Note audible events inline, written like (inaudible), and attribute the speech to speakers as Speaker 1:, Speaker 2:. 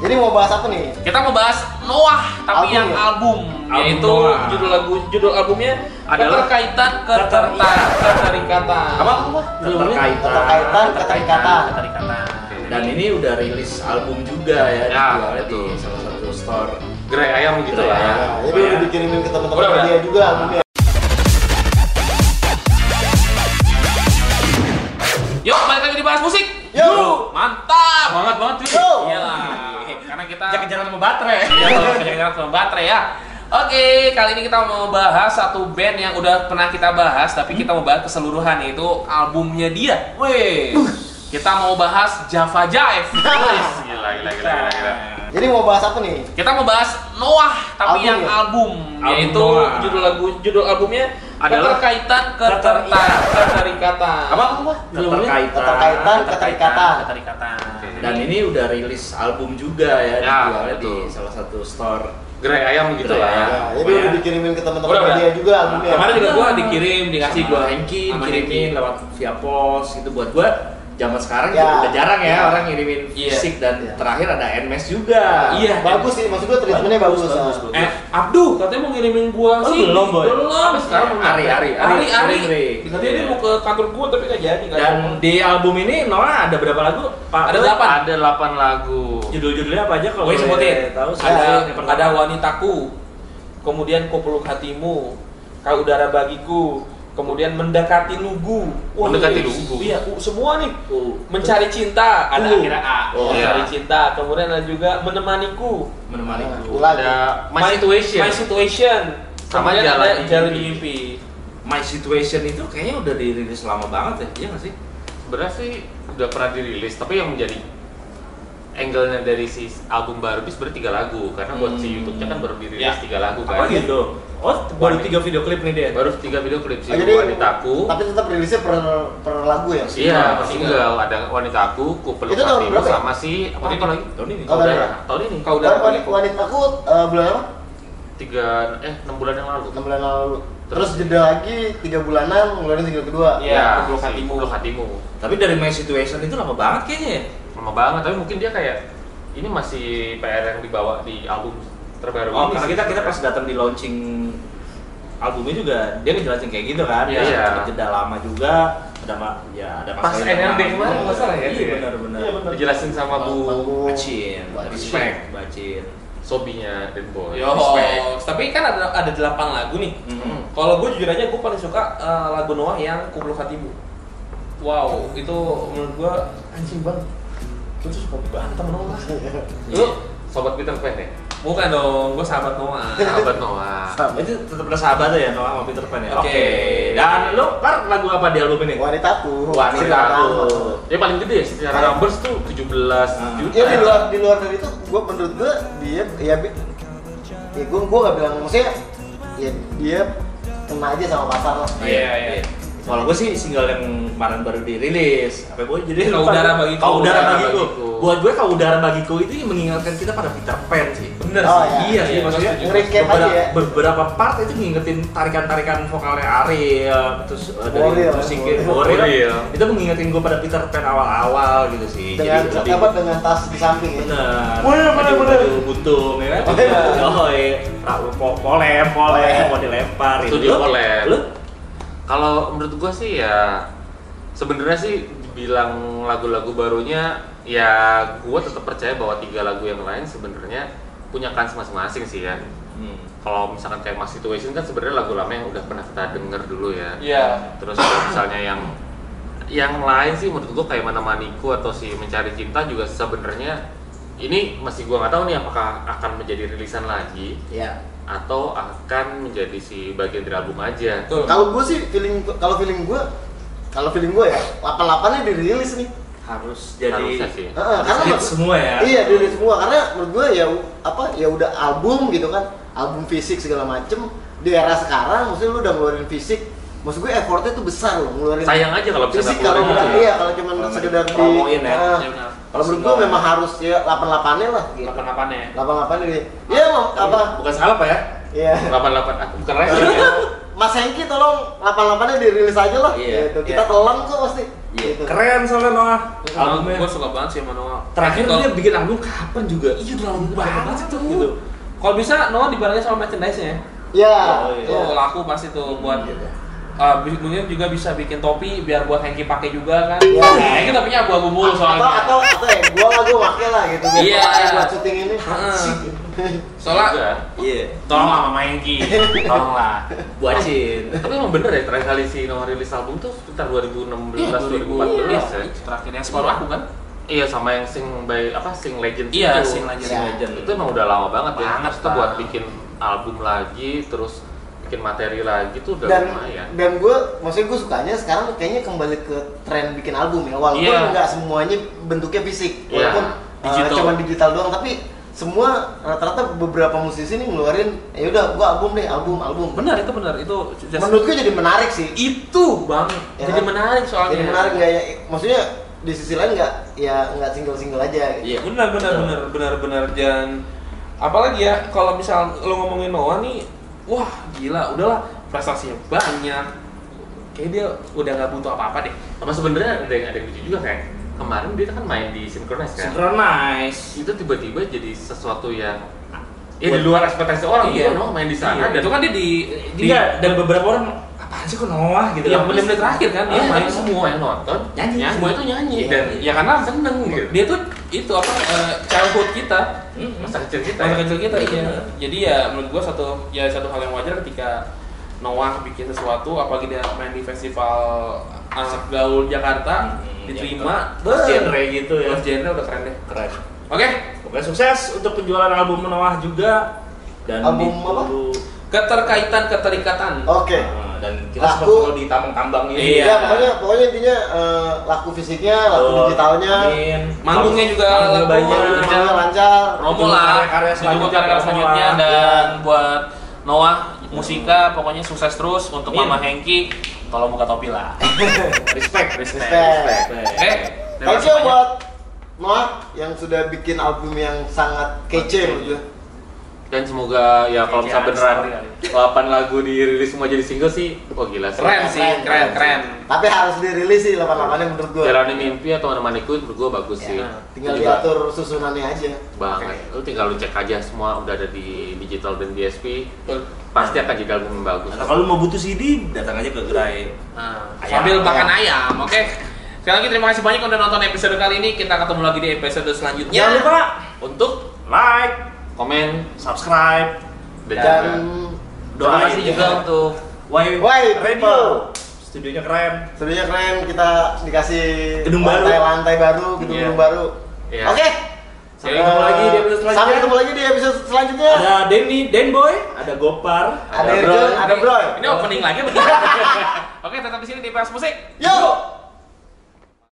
Speaker 1: Jadi mau bahas apa nih?
Speaker 2: Kita mau bahas Noah
Speaker 1: Album
Speaker 2: tapi yang
Speaker 1: ya?
Speaker 2: album,
Speaker 3: Album
Speaker 2: yaitu
Speaker 3: Noah.
Speaker 2: judul lagu judul albumnya
Speaker 3: Adalah
Speaker 2: keterkaitan ketertarikan keterikatan.
Speaker 3: Apa? ya?
Speaker 1: Keterkaitan,
Speaker 3: Keterkaitan.
Speaker 1: keterikatan.
Speaker 2: Keterikatan.
Speaker 4: Dan ini udah rilis album juga ya,
Speaker 3: Ya,
Speaker 4: dijualnya di
Speaker 3: betul.
Speaker 4: salah satu store.
Speaker 3: Gerai ayam gitu
Speaker 4: Gerai
Speaker 3: lah ya.
Speaker 4: ayam.
Speaker 1: Nah, jadi udah dikirimin ke
Speaker 3: Udah,
Speaker 1: teman-teman
Speaker 3: udah.
Speaker 1: dia juga albumnya.
Speaker 2: Yuk, balik lagi dibahas musik.
Speaker 1: Yo!
Speaker 2: Mantap.
Speaker 3: Semangat banget Iya cuy.
Speaker 1: Yo!
Speaker 2: Iyalah, karena kita
Speaker 4: Kejar-kejaran sama baterai.
Speaker 2: Iya, kejar-kejaran sama baterai ya. Oke, kali ini kita mau bahas satu band yang udah pernah kita bahas,
Speaker 3: Hmm?
Speaker 2: tapi kita mau bahas keseluruhan yaitu albumnya dia. Wih, kita mau bahas Java Jive.
Speaker 3: (laughs)
Speaker 2: Wih.
Speaker 3: Gila, gila, gila, gila, gila.
Speaker 1: Jadi mau bahas apa nih?
Speaker 2: Kita mau bahas Noah,
Speaker 1: Album
Speaker 2: tapi yang
Speaker 1: ya?
Speaker 2: album,
Speaker 3: Album
Speaker 2: yaitu
Speaker 3: Noah.
Speaker 2: judul lagu judul albumnya
Speaker 3: Adalah?
Speaker 2: keterkaitan ketertarikan keterikatan.
Speaker 3: Apa?
Speaker 1: Keterkaitan, keterikatan.
Speaker 2: Keterikatan.
Speaker 4: Dan ini udah rilis album juga
Speaker 3: Ya,
Speaker 4: ya, dijualnya di
Speaker 3: betul.
Speaker 4: salah satu store.
Speaker 3: Gerai ayam gitu
Speaker 4: Gerai
Speaker 3: lah ya.
Speaker 4: ayam.
Speaker 1: Nah, jadi udah dikirimin ke teman-teman
Speaker 3: Udah, udah.
Speaker 1: dia juga albumnya.
Speaker 3: Kemarin juga gua
Speaker 2: Iya.
Speaker 3: dikirim, dikasih
Speaker 4: Kasih
Speaker 3: gua
Speaker 4: gua Henki
Speaker 3: sama
Speaker 4: kirimin
Speaker 3: Henki.
Speaker 4: lewat via pos gitu buat gua zaman sekarang
Speaker 1: Ya.
Speaker 4: juga udah jarang ya
Speaker 1: Ya.
Speaker 4: orang ngirimin
Speaker 2: Iya.
Speaker 4: fisik dan
Speaker 1: Iya.
Speaker 4: terakhir ada Nmes juga.
Speaker 2: Iya.
Speaker 1: Bagus sih, maksud gua treatmentnya bagus.
Speaker 4: Bagus, bagus,
Speaker 1: nah.
Speaker 4: bagus.
Speaker 2: Eh, Abdu katanya mau ngirimin gua
Speaker 4: Oh,
Speaker 2: sih.
Speaker 4: belum, Boy.
Speaker 2: Belum.
Speaker 3: Eh,
Speaker 2: Sekarang mau
Speaker 4: Ari, Ari, Ari,
Speaker 2: Ari, Ari.
Speaker 4: Ari.
Speaker 2: Katanya dia mau ke kantor gua tapi nggak jadi. nggak
Speaker 4: Dan di album ini Noah ada berapa lagu? Pak?
Speaker 2: Ada delapan.
Speaker 3: Ada 8 lagu.
Speaker 4: Judul-judulnya apa aja kalau
Speaker 2: Gue
Speaker 4: boleh
Speaker 2: sebutin.
Speaker 4: Tahu sih.
Speaker 2: ada
Speaker 4: iya, Yang pertama.
Speaker 2: iya, ada wanitaku, kemudian kupeluk hatimu, kau udara bagiku, kemudian mendekati lugu.
Speaker 3: Mendekati
Speaker 2: ini-
Speaker 3: lugu.
Speaker 2: Iya, u- semua nih.
Speaker 4: U.
Speaker 2: Mencari cinta, ada
Speaker 4: U.
Speaker 2: akhirnya A.
Speaker 4: Oh,
Speaker 2: mencari
Speaker 3: iya.
Speaker 2: cinta, kemudian ada juga menemaniku.
Speaker 4: menemani
Speaker 1: Nah,
Speaker 4: guru.
Speaker 1: ulang.
Speaker 3: Ada My Situation.
Speaker 2: My situation.
Speaker 3: Sama
Speaker 2: Kemudian
Speaker 3: Jalan
Speaker 2: ada
Speaker 3: Mimpi.
Speaker 2: jalan mimpi.
Speaker 4: My Situation itu kayaknya udah dirilis lama banget ya, iya nggak sih?
Speaker 3: Sebenarnya sih udah pernah dirilis, tapi yang menjadi angle-nya dari si album baru itu sebenarnya tiga lagu karena buat si
Speaker 4: Hmm.
Speaker 3: YouTube-nya kan baru dirilis
Speaker 2: Ya.
Speaker 3: tiga lagu kan.
Speaker 4: Apa gitu? Oh, baru
Speaker 3: Wanita.
Speaker 4: tiga video klip nih dia.
Speaker 3: Baru tiga video klip sih
Speaker 1: Oh,
Speaker 3: wanitaku.
Speaker 1: tapi tetap rilisnya per per lagu ya.
Speaker 3: Iya,
Speaker 4: Single.
Speaker 3: per single ada wanitaku, kupeluk
Speaker 1: Itu tahun
Speaker 3: hatimu
Speaker 1: berapa ya?
Speaker 3: sama si apa
Speaker 2: Tahun
Speaker 3: itu lagi?
Speaker 4: Tahun ini.
Speaker 1: Oh,
Speaker 3: Tahun
Speaker 1: iya.
Speaker 3: ini. Tahun ini.
Speaker 2: Kau
Speaker 1: Udah
Speaker 2: udara
Speaker 1: wanita,
Speaker 2: bagiku.
Speaker 1: wanita aku eh, bulan apa?
Speaker 3: tiga eh enam bulan yang lalu.
Speaker 1: 6 bulan lalu. Terus
Speaker 3: Terus?
Speaker 1: jeda lagi 3 bulanan ngeluarin single kedua.
Speaker 2: Iya. Kupeluk
Speaker 3: si
Speaker 2: hatimu.
Speaker 3: Kupeluk hatimu.
Speaker 4: Tapi dari My Situation itu lama banget kayaknya ya.
Speaker 3: Lama banget, tapi mungkin dia kayak ini masih PR yang dibawa di album terbaru
Speaker 4: Oh,
Speaker 3: ini.
Speaker 4: karena
Speaker 3: sih.
Speaker 4: kita kita pas datang di launching albumnya juga dia ngejelasin kayak gitu kan.
Speaker 3: Iya.
Speaker 4: Terus ada Jeda lama juga ada ma ya ada
Speaker 3: Pas
Speaker 4: masalah yang
Speaker 3: NRD
Speaker 4: lama.
Speaker 3: kemarin, nggak salah ya?
Speaker 4: Iya, benar benar.
Speaker 1: Iya, benar.
Speaker 3: dijelasin sama Bu
Speaker 1: Panggung.
Speaker 4: Bacin,
Speaker 1: Bacin. (laughs)
Speaker 4: respect, bacin.
Speaker 3: Sobinya Dead Boy.
Speaker 2: Yo,
Speaker 4: Respect.
Speaker 2: tapi kan ada ada delapan lagu nih.
Speaker 4: Mhm.
Speaker 2: Kalau gue jujur aja gue paling suka eh, lagu Noah yang Kupeluk Hatimu. Wow, itu menurut gue anjing banget. Gue tuh suka banget sama Noah. Lu
Speaker 3: Sobat Peter Pan ya?
Speaker 2: bukan dong, gue sahabat Noah.
Speaker 3: Sahabat Noah.
Speaker 1: Sama.
Speaker 4: Itu tetap bersahabat ya Noah sama Peter Pan ya.
Speaker 2: Oke.
Speaker 4: Dan lu par lagu apa di album ini?
Speaker 1: Wanita aku.
Speaker 4: Wanita aku.
Speaker 3: Dia paling gede ya, secara numbers tuh 17
Speaker 4: Ah.
Speaker 3: juta.
Speaker 1: Ya di luar di luar dari itu gua menurut gua dia ya bi- ya gua gua gak bilang maksudnya ya dia kena aja sama pasar lah.
Speaker 2: Iya, iya.
Speaker 4: Kalau gue sih single yang kemarin baru dirilis, apa gue jadi
Speaker 2: Kau
Speaker 4: lupa.
Speaker 2: Udara Bagiku.
Speaker 4: Kau udara
Speaker 3: Udara
Speaker 4: bagiku.
Speaker 3: Bagiku.
Speaker 4: Buat gue kau udara bagiku itu yang mengingatkan kita pada Peter Pan sih.
Speaker 2: Bener
Speaker 1: Oh,
Speaker 2: sih.
Speaker 1: iya.
Speaker 4: Iya sih
Speaker 2: Iya,
Speaker 4: maksudnya
Speaker 2: setuju.
Speaker 1: Nge-recap
Speaker 4: beberapa,
Speaker 1: aja ya.
Speaker 4: beberapa part itu ngingetin tarikan-tarikan vokalnya Ariel terus uh, dari
Speaker 1: Boril,
Speaker 4: musiknya
Speaker 3: Boril.
Speaker 4: Boril. Itu mengingatin gue pada Peter Pan awal-awal gitu sih.
Speaker 1: Dengan
Speaker 4: Jadi lebih-
Speaker 1: apa dengan tas di samping ya. Bener,
Speaker 4: Bener.
Speaker 1: bener,
Speaker 4: Baju-
Speaker 1: bener.
Speaker 4: baju buntung ya kan?
Speaker 1: Oh, iya.
Speaker 4: Oh, iya. Ra- po- Polem, polem, mau dilempar. gitu.
Speaker 3: Studio
Speaker 4: Lu-
Speaker 3: polem.
Speaker 4: Lu?
Speaker 3: Kalau menurut gua sih ya sebenarnya sih bilang lagu-lagu barunya ya gua tetap percaya bahwa tiga lagu yang lain sebenarnya punya kans masing-masing sih ya.
Speaker 4: Hmm.
Speaker 3: Kalau misalkan kayak Mas Situation kan sebenarnya lagu lama yang udah pernah kita denger dulu ya.
Speaker 2: Iya.
Speaker 3: Terus kalau misalnya yang yang lain sih menurut gua kayak mana maniku atau si mencari cinta juga sebenarnya ini masih gua nggak tahu nih apakah akan menjadi rilisan lagi
Speaker 4: Ya.
Speaker 3: atau akan menjadi si bagian dari album aja.
Speaker 2: Betul.
Speaker 1: Kalau gua sih feeling kalau feeling gua kalau feeling gua ya 88-nya dirilis nih.
Speaker 4: harus jadi
Speaker 3: Harusnya sih.
Speaker 1: Heeh,
Speaker 4: harus
Speaker 1: karena
Speaker 4: hit
Speaker 1: menurut-
Speaker 4: semua ya.
Speaker 1: Iya, dirilis semua karena menurut gua ya apa ya udah album gitu kan, album fisik segala macem di era sekarang maksudnya lu udah ngeluarin fisik maksud gue effortnya tuh besar loh ngeluarin
Speaker 3: Sayang aja kalau bisa
Speaker 1: fisik
Speaker 3: nggak
Speaker 1: kalau
Speaker 3: keluarin
Speaker 1: nggak-
Speaker 3: gitu ya.
Speaker 1: iya kalau cuman
Speaker 4: Kalau nggak
Speaker 1: sekedar di
Speaker 4: dipromoin
Speaker 1: Ah,
Speaker 4: ya.
Speaker 2: Iya, benar.
Speaker 1: kalau menurut gua memang harus ya 88-nya lah gitu
Speaker 2: Delapan-delapan ya.
Speaker 1: 88-nya gitu. Iya, Mam, apa?
Speaker 4: Bukan salah Pak ya?
Speaker 1: Iya.
Speaker 3: 88 ah, bukan rap ya.
Speaker 1: Mas Hengki tolong 88-nya dirilis aja lah.
Speaker 4: Iya,
Speaker 1: Gitu. Kita
Speaker 4: iya.
Speaker 1: telan kok pasti. gitu.
Speaker 4: Keren soalnya Noah albumnya.
Speaker 2: Gue suka banget sih sama Noah.
Speaker 4: Terakhir
Speaker 2: Kalau-
Speaker 4: dia bikin album kapan juga? Iya udah lama banget
Speaker 2: banget
Speaker 4: tuh.
Speaker 2: tuh. Kalau bisa Noah dibarengin sama merchandise-nya.
Speaker 1: Ya.
Speaker 4: Oh, iya.
Speaker 2: Itu laku pasti tuh buat
Speaker 4: Gitu.
Speaker 2: eh mungkin juga bisa bikin topi biar buat Hengki pakai juga kan.
Speaker 1: Iya.
Speaker 2: Nah, itu topinya abu-abu
Speaker 1: Atau
Speaker 2: mulu
Speaker 1: atau
Speaker 2: soalnya.
Speaker 1: atau ya, gua lah gua pakai lah gitu. biar
Speaker 2: Iya.
Speaker 1: pakai Buat syuting ini.
Speaker 2: Heeh.
Speaker 3: Juga.
Speaker 2: Soalnya
Speaker 4: Iya.
Speaker 2: tolonglah sama
Speaker 1: (laughs)
Speaker 2: Hengki, tolonglah.
Speaker 4: Buacin.
Speaker 3: Tapi emang bener ya terakhir kali si Noah rilis album tuh sekitar 2016
Speaker 2: Iya,
Speaker 3: 2014
Speaker 2: iya.
Speaker 3: ya.
Speaker 2: Terakhir yang skor aku kan?
Speaker 3: Iya sama yang sing by apa sing legend
Speaker 2: Iya,
Speaker 3: itu.
Speaker 2: Sing Legend.
Speaker 4: Legend.
Speaker 3: Itu emang udah lama banget ya.
Speaker 2: Banget,
Speaker 3: Maksudnya
Speaker 2: Pak.
Speaker 3: buat bikin album lagi terus bikin materi lagi tuh udah
Speaker 1: dan
Speaker 3: lumayan.
Speaker 1: dan gue maksudnya gue sukanya sekarang kayaknya kembali ke tren bikin album ya walaupun
Speaker 2: Iya.
Speaker 1: nggak semuanya bentuknya fisik
Speaker 3: Iya.
Speaker 1: walaupun eh,
Speaker 2: Digital.
Speaker 1: cuman digital doang tapi semua rata-rata beberapa musisi ini ngeluarin ya udah gue album deh album album
Speaker 2: Benar itu benar itu just-
Speaker 1: menurut gue jadi menarik sih
Speaker 2: itu
Speaker 3: Uhuh,
Speaker 1: Ya
Speaker 2: banget. Iya, Jadi
Speaker 1: kan?
Speaker 2: menarik soalnya.
Speaker 3: Iya,
Speaker 1: jadi menarik nggak ya maksudnya di sisi lain nggak ya nggak single single aja gitu.
Speaker 2: Iya, benar benar benar benar benar dan apalagi ya kalau misal lo ngomongin Noah nih, wah gila, udahlah prestasinya banyak. Kayaknya dia udah nggak butuh apa-apa deh.
Speaker 3: Sama sebenarnya ada yang ada yang lucu juga kayak kemarin dia kan main di Synchronize kan.
Speaker 4: Synchronize.
Speaker 3: Itu tiba-tiba jadi sesuatu yang ya
Speaker 4: Buat-
Speaker 3: di luar ekspektasi orang
Speaker 2: Iya.
Speaker 3: iya. Noah main di sana
Speaker 2: Iya,
Speaker 3: dan
Speaker 2: itu kan dia di di
Speaker 4: Dia dan beberapa orang apaan sih kok Noah gitu.
Speaker 2: yang
Speaker 4: kan?
Speaker 2: menit-menit terakhir kan dia
Speaker 3: Iya,
Speaker 2: main
Speaker 3: tapi semua yang nonton
Speaker 4: Nyanyi.
Speaker 3: semua itu nyanyi
Speaker 4: Iya.
Speaker 3: dan
Speaker 2: Ya karena
Speaker 3: seneng gitu.
Speaker 2: dia tuh itu apa eh, childhood kita
Speaker 4: Mm-mm.
Speaker 3: Masa kecil kita.
Speaker 2: masa
Speaker 3: ya.
Speaker 2: kecil kita iya. jadi ya menurut gua satu ya satu hal yang wajar ketika Noah bikin sesuatu apalagi dia main di festival anak gaul Jakarta
Speaker 4: Hmm,
Speaker 2: diterima
Speaker 4: Terus
Speaker 2: beuh.
Speaker 4: genre gitu ya.
Speaker 2: Terus genre udah keren deh
Speaker 4: Keren.
Speaker 2: oke
Speaker 4: Pokoknya sukses untuk penjualan album Noah juga dan
Speaker 1: Album apa?
Speaker 4: ditunggu-
Speaker 2: keterkaitan keterikatan
Speaker 1: oke
Speaker 4: Nah, dan kita
Speaker 1: Laku.
Speaker 4: sempat perlu di tambang-tambang ini.
Speaker 2: Iya.
Speaker 1: Ya, pokoknya pokoknya intinya eh, laku fisiknya laku
Speaker 4: Betul.
Speaker 1: digitalnya
Speaker 4: Amin.
Speaker 2: Manggungnya juga
Speaker 4: Manggungnya
Speaker 2: laku.
Speaker 4: banyak.
Speaker 1: lancar lancar
Speaker 2: Romo
Speaker 4: Ditunggu
Speaker 2: lah
Speaker 4: karya-karya
Speaker 2: ditunggu
Speaker 4: selanjutnya,
Speaker 2: karya-karya
Speaker 4: Romo
Speaker 2: selanjutnya
Speaker 4: lah.
Speaker 2: dan buat Noah musika pokoknya sukses terus untuk
Speaker 4: Iya.
Speaker 2: Mama Hengki tolong buka topi lah
Speaker 4: Respect,
Speaker 2: respect
Speaker 1: respect
Speaker 2: oke
Speaker 4: Eh.
Speaker 2: terima
Speaker 1: Thank
Speaker 2: kasih
Speaker 1: you
Speaker 2: banyak.
Speaker 1: buat Noah yang sudah bikin album yang sangat kece menurut gue.
Speaker 3: dan semoga ya kalau misalnya
Speaker 2: Kayaknya
Speaker 3: beneran
Speaker 2: story kali.
Speaker 3: 8 lagu dirilis semua jadi single sih wah gila sih
Speaker 2: Keren sih, keren, keren.
Speaker 1: Tapi harus dirilis sih 88 menurut gue.
Speaker 3: Jalani mimpi atau menemaniku menurut gua bagus sih
Speaker 1: Ya, tinggal
Speaker 3: Juga
Speaker 1: diatur susunannya aja.
Speaker 3: banget lu tinggal lu cek aja semua udah ada di digital dan DSP
Speaker 2: Betul.
Speaker 3: pasti akan jadi album yang bagus
Speaker 4: Nah, kalau mau butuh CD, datang aja ke gerai.
Speaker 2: Nah,
Speaker 4: Ayam.
Speaker 2: sambil makan ayam, oke. Sekali lagi terima kasih banyak udah nonton episode kali ini. Kita ketemu lagi di episode selanjutnya.
Speaker 4: Jangan lupa
Speaker 2: untuk
Speaker 4: like,
Speaker 3: komen
Speaker 4: subscribe,
Speaker 3: dan,
Speaker 1: Dan
Speaker 3: juga
Speaker 2: doa
Speaker 4: Doain
Speaker 2: kasih
Speaker 4: ya.
Speaker 2: juga untuk
Speaker 4: Why,
Speaker 1: Why
Speaker 4: Radio. Studionya keren.
Speaker 1: sebenarnya keren kita dikasih
Speaker 4: Gedung baru.
Speaker 1: lantai-lantai baru, gedung
Speaker 3: Iya.
Speaker 1: gedung baru.
Speaker 3: Iya.
Speaker 1: Oke.
Speaker 4: Sampai ketemu lagi di episode selanjutnya.
Speaker 1: Sampai ketemu lagi di episode selanjutnya.
Speaker 4: Ada Denny, Denboy, ada Gopar,
Speaker 1: Ada
Speaker 3: Ada
Speaker 1: Irjen, ada Bro.
Speaker 2: Ini opening lagi betul. Oke, tetap di sini di Pas Musik.
Speaker 1: Yuk.